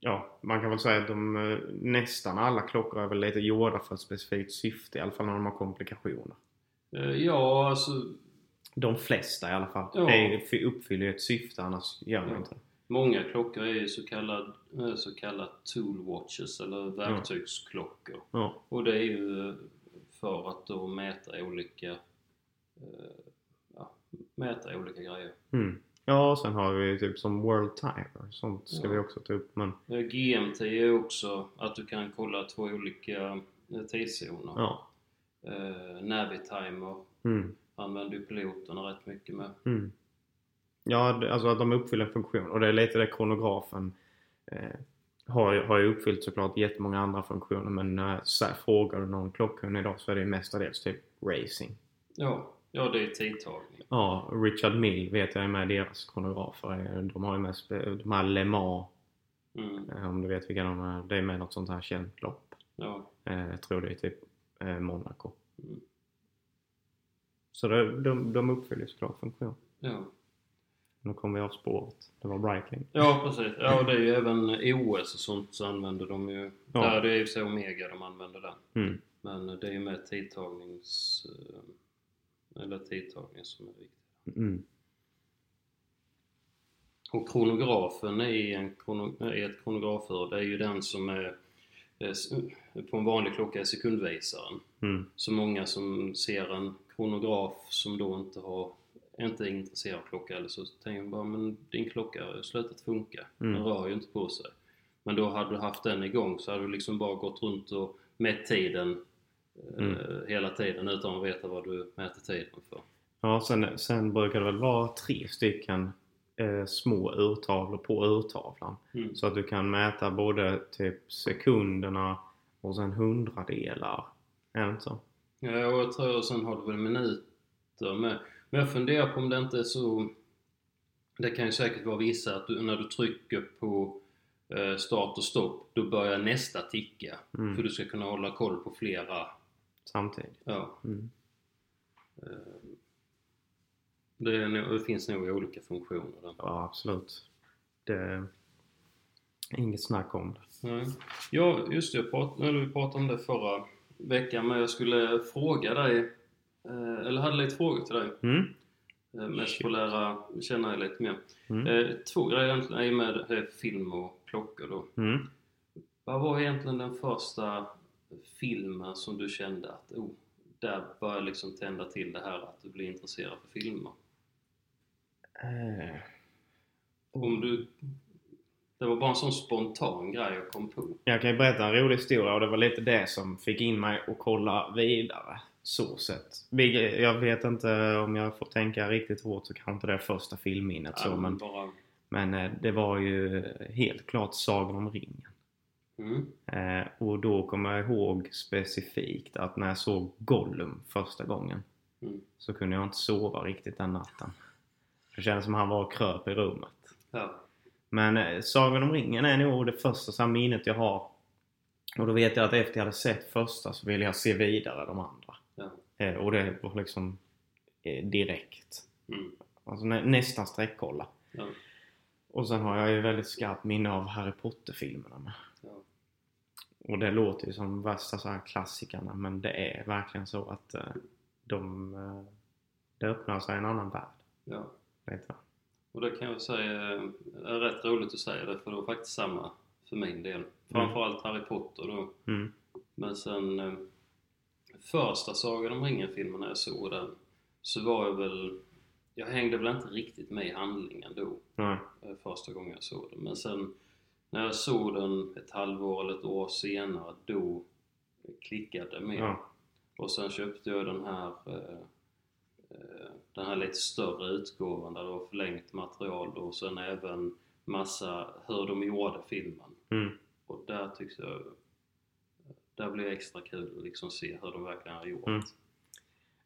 A: ja, man kan väl säga att de, eh, nästan alla klockor är väl lite gjorda för ett specifikt syfte, i alla fall när de har komplikationer.
B: Eh, Ja, alltså
A: De flesta i alla fall.
B: Ja.
A: Det är ju- fy- uppfyller ju ett syfte, annars gör man
B: Ja.
A: inte det.
B: många klockor är ju så kallad, eh, så kallat tool watches eller verktygsklockor.
A: Ja.
B: Och det är ju eh, för att då mäta olika eh, ja, mäta olika grejer.
A: Mm. ja, och sen har vi ju typ som World Timer, sånt ska
B: Ja.
A: vi också ta upp. Men
B: Eh, GMT är också att du kan kolla två olika eh, tidszoner.
A: ja.
B: Eh, Navitimer
A: Mm.
B: använder ju piloterna rätt mycket med.
A: Mm. Ja, det- alltså att de uppfyller en funktion. Och det är lite det kronografen eh, har, ju- har ju uppfyllt såklart jättemånga andra funktioner. Men eh, så här, frågar du någon klockkunnig idag så är det ju mestadels typ racing.
B: Ja, ja det är tidtagning.
A: Ja, Richard Mill vet jag är med i deras kronografer. Eh, De har ju mest de här Le Mans,
B: Mm,
A: eh, om du vet vilka de är. Det är med något sånt här känt lopp.
B: ja,
A: Eh, jag tror det är typ eh, Monaco.
B: Mm.
A: Så det, de, de uppfyller såklart funktion.
B: ja.
A: Nu kommer vi av spåret. Det var Breitling.
B: ja, precis. Ja, och det är ju även OS och sånt så använder de ju...
A: Ja.
B: Där det är ju så Omega de använder den.
A: Mm.
B: Men det är ju med tidtagnings... eh, Eller tidtagning som är viktigt.
A: Mm.
B: Och kronografen i, en krono, i ett kronografur, det är ju den som är eh, s- på en vanlig klocka är sekundvisaren.
A: Mm.
B: Så många som ser en kronograf som då inte har inte är intresserad av klocka eller så tänker de bara men din klocka har ju slutat funka. Den
A: Mm.
B: rör ju inte på sig. Men då hade du haft den igång så hade du liksom bara gått runt och mätt tiden eh, hela tiden utan att veta vad du mäter tiden för.
A: Ja, sen, sen brukar det väl vara tre stycken eh, små urtavlor på urtavlan.
B: Mm.
A: Så att du kan mäta både typ sekunderna och sen hundradelar. Är det inte så?
B: Ja, och jag tror sen har du väl minuter med. Men jag funderar på om det inte är så... Det kan ju säkert vara vissa att du, när du trycker på eh, start och stopp, då börjar nästa ticka.
A: Mm.
B: För du ska kunna hålla koll på flera.
A: Samtidigt.
B: Ja,
A: Mm.
B: det, är, nog- det finns nog olika funktioner där.
A: Ja, absolut. Det är inget snack om det.
B: Nej. Ja, just det. Jag prat, eller vi pratade om det förra veckan, men jag skulle fråga dig, eh, eller hade lite frågor till dig.
A: Mm?
B: Eh, Mest
A: Shit.
B: få lära känna er lite mer.
A: Mm.
B: Eh, två grejer egentligen, i och med eh, film och klockor då.
A: Mm.
B: Vad var egentligen den första filmen som du kände att oh, där började liksom tända till det här att du blir intresserad för filmer?
A: Eh, Oh.
B: Om du... Det var bara en sån spontan grej jag kom på.
A: Jag kan ju berätta en rolig historia och det var lite det som fick in mig att kolla vidare. Så sett. Vilket- Jag vet inte om jag får tänka riktigt hårt så kanske inte det är första filmminnet så
B: Ja,
A: men,
B: Bara,
A: men eh, det var ju helt klart Sagan om ringen.
B: mm,
A: Eh, Och då kommer jag ihåg specifikt att när jag såg Gollum första gången
B: Mm.
A: så kunde jag inte sova riktigt den natten. Det kändes som han var och kröp i rummet.
B: ja.
A: Men eh, Sagan om ringen är nog det första så här minnet jag har. Och då vet jag att efter jag hade sett första så ville jag se vidare de andra.
B: ja.
A: Eh, och det var liksom eh, direkt.
B: Mm,
A: Alltså nä, nästan streckkolla.
B: ja,
A: Och sen har jag ju väldigt skarpt minne av Harry Potter-filmerna med.
B: ja.
A: Och det låter ju som värsta så här klassikerna men det är verkligen så att eh, de... Eh, det öppnar sig en annan värld.
B: ja.
A: Vet du.
B: Och det kan jag säga eh, är rätt roligt att säga det för det var faktiskt samma för min del. Framförallt Harry Potter då.
A: Mm.
B: Men sen eh, första Sagan om ringen-filmen när jag såg den så var jag väl... Jag hängde väl inte riktigt med i handlingen då
A: Nej.
B: eh, första gången jag såg den. Men sen när jag såg den ett halvår eller ett år senare då klickade det mer.
A: Ja.
B: Och sen köpte jag den här eh, eh, den här lite större utgåvan där det var förlängt material då, och sen även massa hur de gjorde filmen.
A: Mm.
B: Och där tyckte jag där blir det extra kul att liksom se hur de verkligen har gjort.
A: Mm.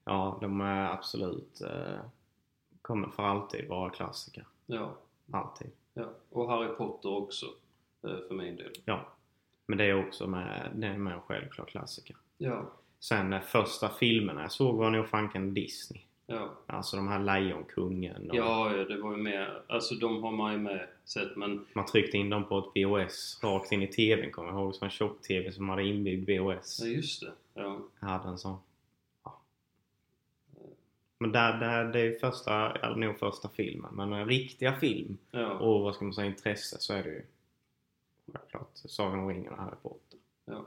A: Ja, de är absolut... Eh, kommer för alltid vara klassiker.
B: Ja,
A: Alltid.
B: ja, och Harry Potter också eh, för min del.
A: Ja. Men det är också med, det är med en självklar klassiker.
B: Ja,
A: Sen eh, första filmerna jag såg var nog fanken Disney.
B: ja.
A: Alltså de här Lejonkungen och
B: Ja, ja, det var ju med. Alltså de har man ju med sett men
A: man tryckte in dem på ett VHS rakt in i TVn kommer jag ihåg. Som en tjock-TV som hade inbyggd VHS.
B: ja, just det. Ja,
A: Jag hade en sån. Ja. Men där, där, det är första, eller nog första filmen. Men eh, riktiga film
B: ja,
A: och vad ska man säga intresse så är det ju självklart Sagan om ringen och Harry Potter.
B: ja.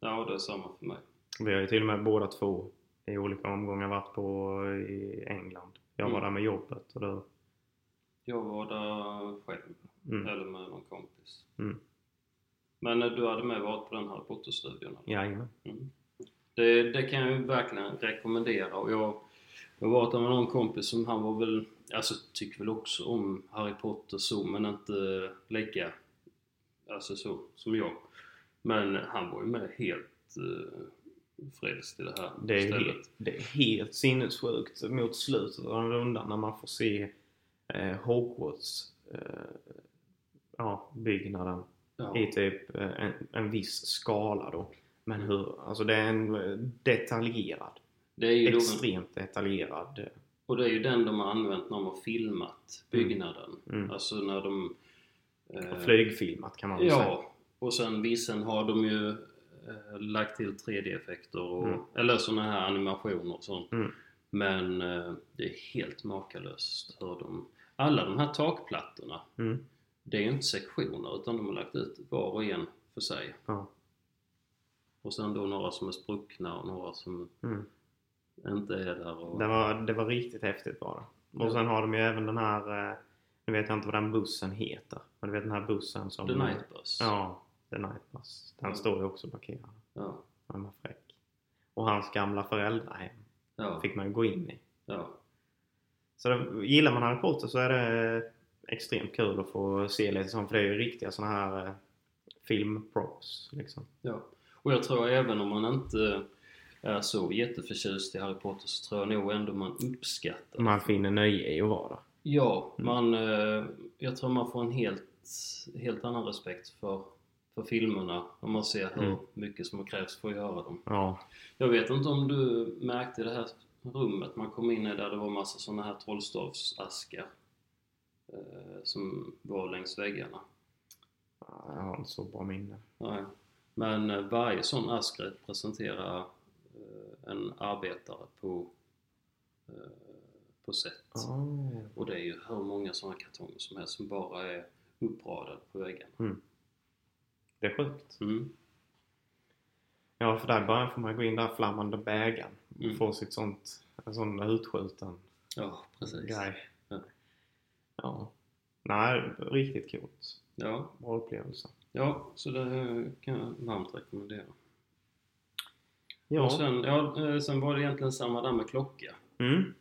B: ja det är samma för mig.
A: Vi har ju till och med båda två i olika omgångar varit på i England. Jag var
B: Mm.
A: där med jobbet och då...
B: Jag var där själv
A: Mm,
B: eller med någon kompis.
A: Mm.
B: Men eh, du hade med varit på den här Potter-studion? eller?
A: jajamän.
B: Mm. Det, det kan jag ju verkligen rekommendera. Och jag jag har varit där med någon kompis som han var väl, alltså tycker väl också om Harry Potter så, men inte lika, alltså så, som jag. Men han var ju med helt eh, frälst i det här
A: Det är, ju
B: stället.
A: helt, det är helt sinnessjukt mot slutet av en runda när man får se eh, Hogwarts eh, ja, byggnaden
B: Ja.
A: i typ eh, en, en viss skala då. Men hur, alltså det är en eh, detaljerad,
B: Det är ju då,
A: extremt detaljerad. eh,
B: och det är ju den de har använt när de har filmat byggnaden.
A: Mm.
B: Alltså när de... eh,
A: Flygfilmat kan man väl säga.
B: Ja, och sen vissen har de ju eh, lagt till 3D-effekter och,
A: Mm.
B: eller sådana här animationer och sånt.
A: Mm.
B: Men eh, det är helt makalöst hur de... Alla de här takplattorna,
A: Mm.
B: det är ju inte sektioner utan de har lagt ut var och en för sig.
A: Ja.
B: Och sen då några som är spruckna och några som
A: Mm.
B: inte är där. Och,
A: Det, var, det var riktigt häftigt bara.
B: Ja.
A: Och sen har de ju även den här, eh, nu vet jag inte vad den bussen heter. Men du vet den här bussen som...
B: The Night Bus.
A: Ja, The Night Bus. Den
B: Ja.
A: står ju också parkerad.
B: Ja.
A: Han var fräck. Och hans gamla föräldrahem
B: Ja.
A: fick man ju gå in i.
B: ja.
A: Så det, gillar man Harry Potter så är det extremt kul att få se lite sånt. För det är ju riktiga sådana här eh, filmprops liksom.
B: Ja, och jag tror även om man inte är så jätteförtjust i Harry Potter så tror jag nog ändå man uppskattar
A: Man finner nöje i att vara där.
B: Ja,
A: Mm.
B: man, eh, jag tror man får en helt, helt annan respekt för, för filmerna om man ser hur
A: Mm.
B: mycket som krävs för att göra dem.
A: Ja,
B: Jag vet inte om du märkte i det här rummet man kom in i där det var massa sådana här trollstavsaskar eh, som var längs väggarna.
A: jag har inte så bra minne.
B: Nej. Men eh, varje sån ask representerar eh, en arbetare på, eh, på sätt.
A: Oh.
B: Och det är ju hur många såna kartonger som helst som bara är uppradade på väggarna.
A: Det är sjukt.
B: Mm.
A: Ja, för där i början får man gå in där flammande bägaren.
B: Mm.
A: och Få sitt sånt, en sån där utskjuten
B: Ja, precis.
A: grej.
B: Ja.
A: Ja. Nej, riktigt coolt.
B: Ja,
A: Bra upplevelse.
B: ja, så det här kan jag varmt rekommendera.
A: Ja.
B: Och sen, ja, eh, sen var det egentligen samma där med klocka.
A: Mm.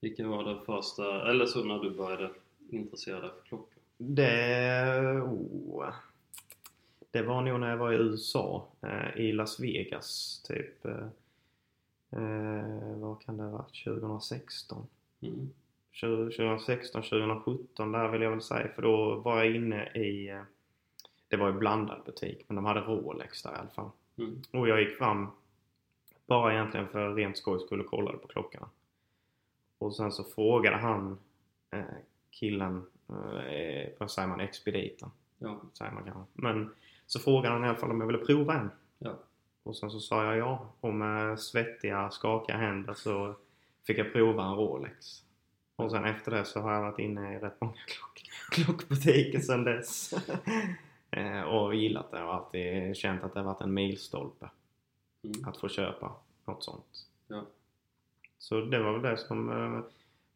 B: Vilken var det första, eller så när du började intressera dig för klockor?
A: Det... Oh. Det var nog när jag var i USA, eh, i Las Vegas, typ. Eh, eh, vad kan det ha varit? 2016?
B: Mm.
A: 2016, 2017 där vill jag väl säga. För då var jag inne i... eh, Det var ju blandad butik, men de hade Rolex där i alla fall.
B: Mm.
A: Och jag gick fram bara egentligen för rent skoj skulle kolla på klockan. Och sen så frågade han eh, killen, eh, vad säger man, expediten
B: Ja,
A: säger man kanske. Men så frågade han i alla fall om jag ville prova en.
B: Ja.
A: Och sen så sa jag ja. Och med svettiga, skakiga händer så fick jag prova en Rolex. Och sen efter det så har jag varit inne i rätt många klock klockbutiker sedan dess. Eh, och gillat det och alltid känt att det har varit en milstolpe
B: mm.
A: att få köpa något sånt.
B: Ja.
A: Så det var väl det som... eh,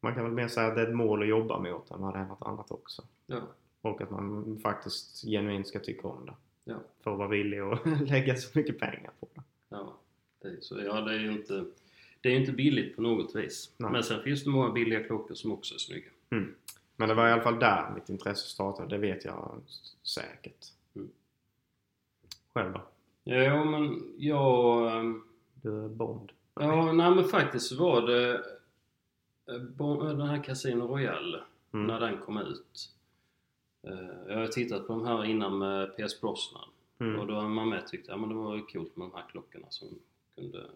A: Man kan väl mer säga att det är ett mål att jobba mot än vad det är något annat också.
B: ja.
A: Och att man faktiskt genuint ska tycka om det.
B: Ja.
A: För att vara villig att lägga så mycket pengar på det.
B: Ja, det är, så, ja, det är ju inte, det är ju inte billigt på något vis.
A: Nej.
B: Men sen finns det många billiga klockor som också är snygga.
A: Mm. Men det var i alla fall där mitt intresse startade. Det vet jag s- säkert.
B: Mm.
A: Själv då?
B: Jo, men jag... ehm,
A: Du är Bond.
B: Ja, nej men faktiskt var det eh, bo- den här Casino Royale
A: Mm.
B: när den kom ut. Eh, Jag har tittat på de här innan med PS Brosnan och
A: Mm.
B: då har man med tyckt att ja, men det var ju coolt med de här klockorna som kunde...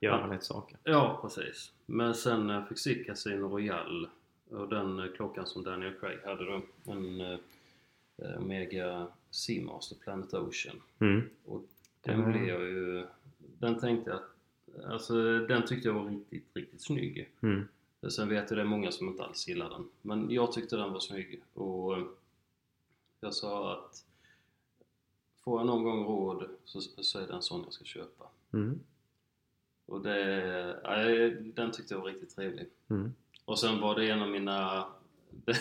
A: Göra lite saker.
B: Ja, precis. Men sen när jag fick se Casino Royale och den eh, klockan som Daniel Craig hade då, en eh, eh, Omega Seamaster Planet Ocean.
A: Mm.
B: Den
A: Mm.
B: blev jag ju... Den tänkte jag... att- Alltså den tyckte jag var riktigt, riktigt snygg.
A: Mm.
B: Sen vet jag det är många som inte alls gillar den. Men jag tyckte den var snygg och eh, jag sa att får jag någon gång råd så, så är det en sån jag ska köpa.
A: Mm.
B: Och det, nej, den tyckte jag var riktigt trevlig.
A: Mm.
B: Och sen var det en av mina... Det,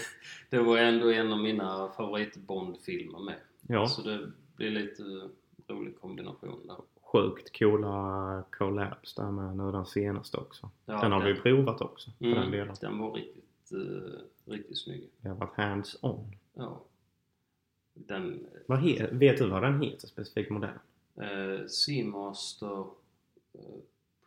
B: det var ändå en av mina favorit Bond-filmer med.
A: Ja.
B: Så det blir lite rolig kombination där.
A: Sjukt coola collabs där med nu den senaste också.
B: Ja,
A: den har vi ju provat också. för Den
B: Mm,
A: delen.
B: den var riktigt, eh, riktigt snygg.
A: Det har varit hands-on.
B: Ja. Den
A: Vad he- vet du vad den heter specifik modell?
B: eh, Seamaster eh,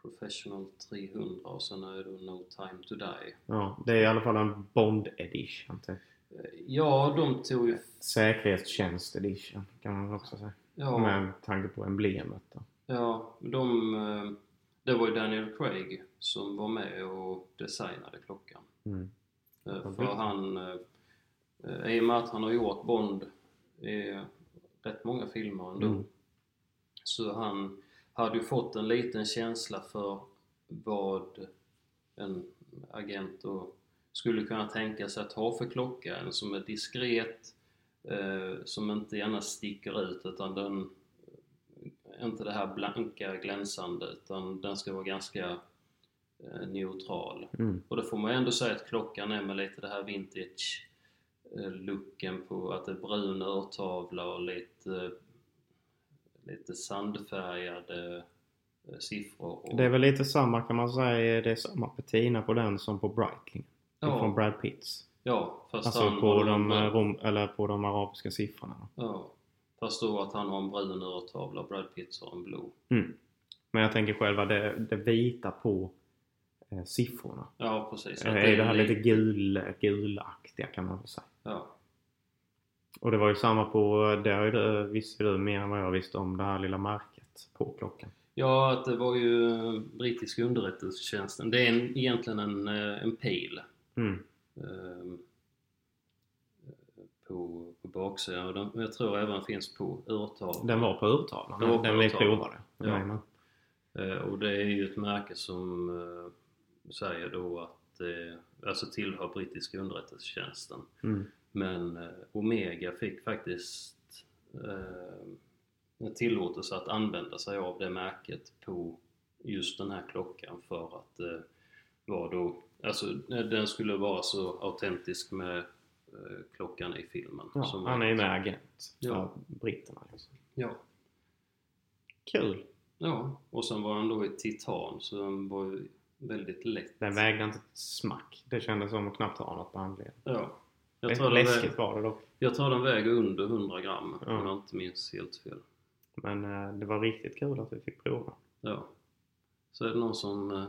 B: Professional 300 och sen är det No Time To Die.
A: Ja, det är i alla fall en Bond edition. Typ.
B: Eh, ja, de tog ju...
A: Säkerhetstjänst edition kan man också säga.
B: Ja,
A: Med tanke på emblemet. Då.
B: ja de... Eh, det var ju Daniel Craig som var med och designade klockan.
A: Mm.
B: Eh,
A: Vad
B: För
A: bra.
B: han, eh, eh, i och med att han har gjort Bond i rätt många filmer ändå,
A: Mm.
B: så han hade ju fått en liten känsla för vad en agent då skulle kunna tänka sig att ha för klocka. En som är diskret, eh, som inte gärna sticker ut utan den, inte det här blanka glänsande utan den ska vara ganska eh, neutral.
A: Mm.
B: Och då får man ju ändå säga att klockan är med lite det här vintage eh, looken på att det är brun urtavla och lite, eh, lite sandfärgade eh, siffror. Och,
A: Det är väl lite samma kan man säga. Det är samma patina på den som på Breitling.
B: ja,
A: Från Brad Pitts.
B: ja, fast
A: Alltså
B: han
A: på
B: har
A: de,
B: en-
A: eh, rom, eller på de arabiska siffrorna.
B: Ja, fast då att han har en brun urtavla och Brad Pitt har en blå.
A: Mm. Men jag tänker själva det, det vita på eh, siffrorna.
B: Ja, precis.
A: Det
B: Att
A: är det här
B: en
A: lite
B: li-
A: gul, gulaktiga kan man väl säga.
B: Ja, och
A: Och det var ju samma på, det har ju du, visste du mer än vad jag visste om det här lilla märket på klockan.
B: ja, att det var ju eh, brittiska underrättelsetjänsten. Det är en, egentligen en, eh, en pil
A: Mm.
B: ehm, på, på baksidan. Och den, jag tror även finns på urtavlan.
A: Den var på urtavlan,
B: Den var
A: den,
B: på
A: vi
B: urtavlan.
A: provade.
B: Ja.
A: Jajamän.
B: Eh, Och det är ju ett märke som eh, säger då att eh, alltså tillhör brittiska underrättelsetjänsten.
A: Mm.
B: Men eh, Omega fick faktiskt eh, en tillåtelse att använda sig av det märket på just den här klockan för att eh, vara då, alltså eh, den skulle vara så autentisk med eh, klockan i filmen.
A: Ja,
B: som
A: han är ju med agent för
B: Ja.
A: britterna. Liksom.
B: Ja.
A: Kul!
B: ja, och sen var han då i titan så den var ju väldigt lätt.
A: Den vägde inte ett smack. Det kändes som att knappt ha något på handleden.
B: Ja. Jag tror,
A: Lä-
B: den
A: Läskigt
B: väger,
A: var det dock.
B: jag tror den väger under 100 gram
A: Ja.
B: om jag inte minns helt fel.
A: Men eh, det var riktigt kul att vi fick prova.
B: Ja. Så är det någon som eh,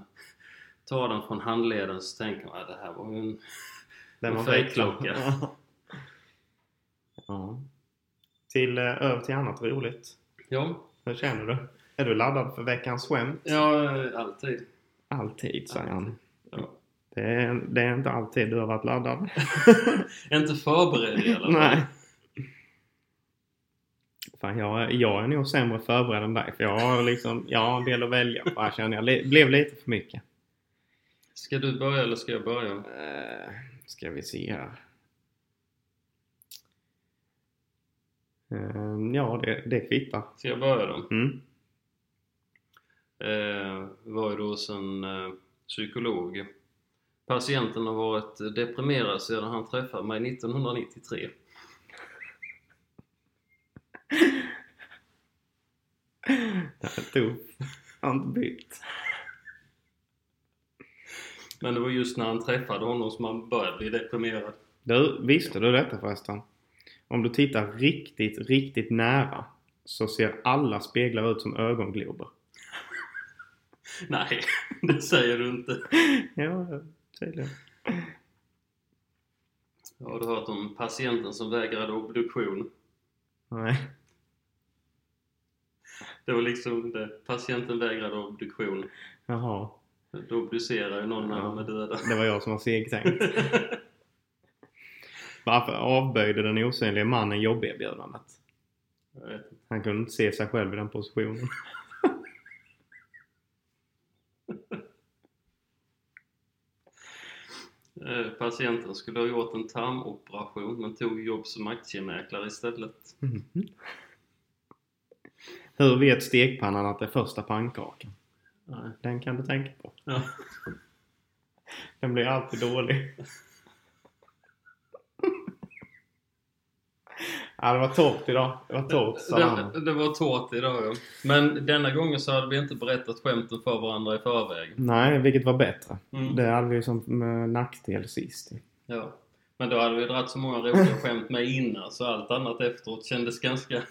B: tar den från handleden så tänker man att det här var ju en... En fejkklocka.
A: Ja. ja. Till, eh, över till annat roligt.
B: Ja,
A: Hur känner du? Är du laddad för veckans skämt?
B: ja eh, alltid.
A: Alltid, säger han.
B: Ja.
A: Det är, det är inte alltid du har varit laddad.
B: Inte förberedd i alla fall.
A: Nej. Fan, jag, jag är nog sämre förberedd än dig. För jag har liksom, jag har en del att välja på här känner jag. Det blev lite för mycket.
B: Ska du börja eller ska jag börja?
A: Eh, ska vi se här. Eh, ja, det, det kvittar.
B: Ska jag börja då?
A: Mm.
B: Eh, var ju då hos en eh, psykolog. Patienten har varit eh, deprimerad sedan han träffade mig 1993.
A: Det här tog han inte bytt.
B: Men det var just när han träffade honom som han började bli deprimerad.
A: Du, visste du detta förresten? Om du tittar riktigt, riktigt nära så ser alla speglar ut som ögonglober.
B: Nej, det säger du inte.
A: Ja, tydligen.
B: Har du hört om patienten som vägrade obduktion?
A: Nej.
B: Det var liksom det. Patienten vägrade obduktion.
A: Jaha.
B: Då obducerar ju någon när de är döda.
A: Det var jag som var segtänkt. Varför avböjde den osynliga mannen jobberbjudandet?
B: Jag vet inte.
A: Han kunde inte se sig själv i den positionen.
B: Eh, Patienten skulle ha gjort en tarmoperation men tog jobb som aktiemäklare istället.
A: Hur vet stekpannan att det är första pannkakan?
B: Nej.
A: Den kan du tänka på.
B: Ja.
A: Den blir alltid dålig. ja, det var torrt idag. Det var torrt, sa han.
B: Det, det var tårt idag ja. Men denna gången så hade vi inte berättat skämten för varandra i förväg.
A: Nej, vilket var bättre.
B: Mm.
A: Det hade vi ju som eh, nackdel sist.
B: Ja. Men då hade vi dragit så många roliga skämt med innan så allt annat efteråt kändes ganska...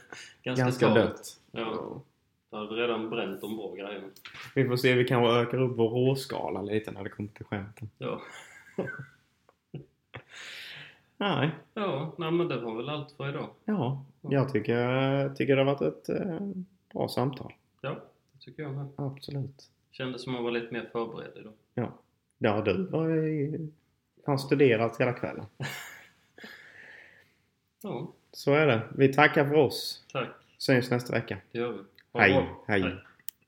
B: Ganska,
A: Ganska
B: tamt.
A: dött.
B: Ja. Då hade vi redan bränt de bra grejerna.
A: Vi får se, vi kanske ökar upp vår råskala lite när det kommer till skämten.
B: Ja.
A: Nej,
B: Ja, nej men det var väl allt för idag.
A: ja. Jag tycker, tycker det har varit ett eh, bra samtal.
B: Ja, det tycker jag med.
A: Absolut.
B: Kändes som att man var lite mer förberedd idag.
A: Ja. Ja, du var ju- har studerat hela kvällen.
B: Ja,
A: Så är det. Vi tackar för oss.
B: tack.
A: Syns nästa vecka.
B: Det gör vi. Ha det
A: Hej.
B: bra.
A: Hej.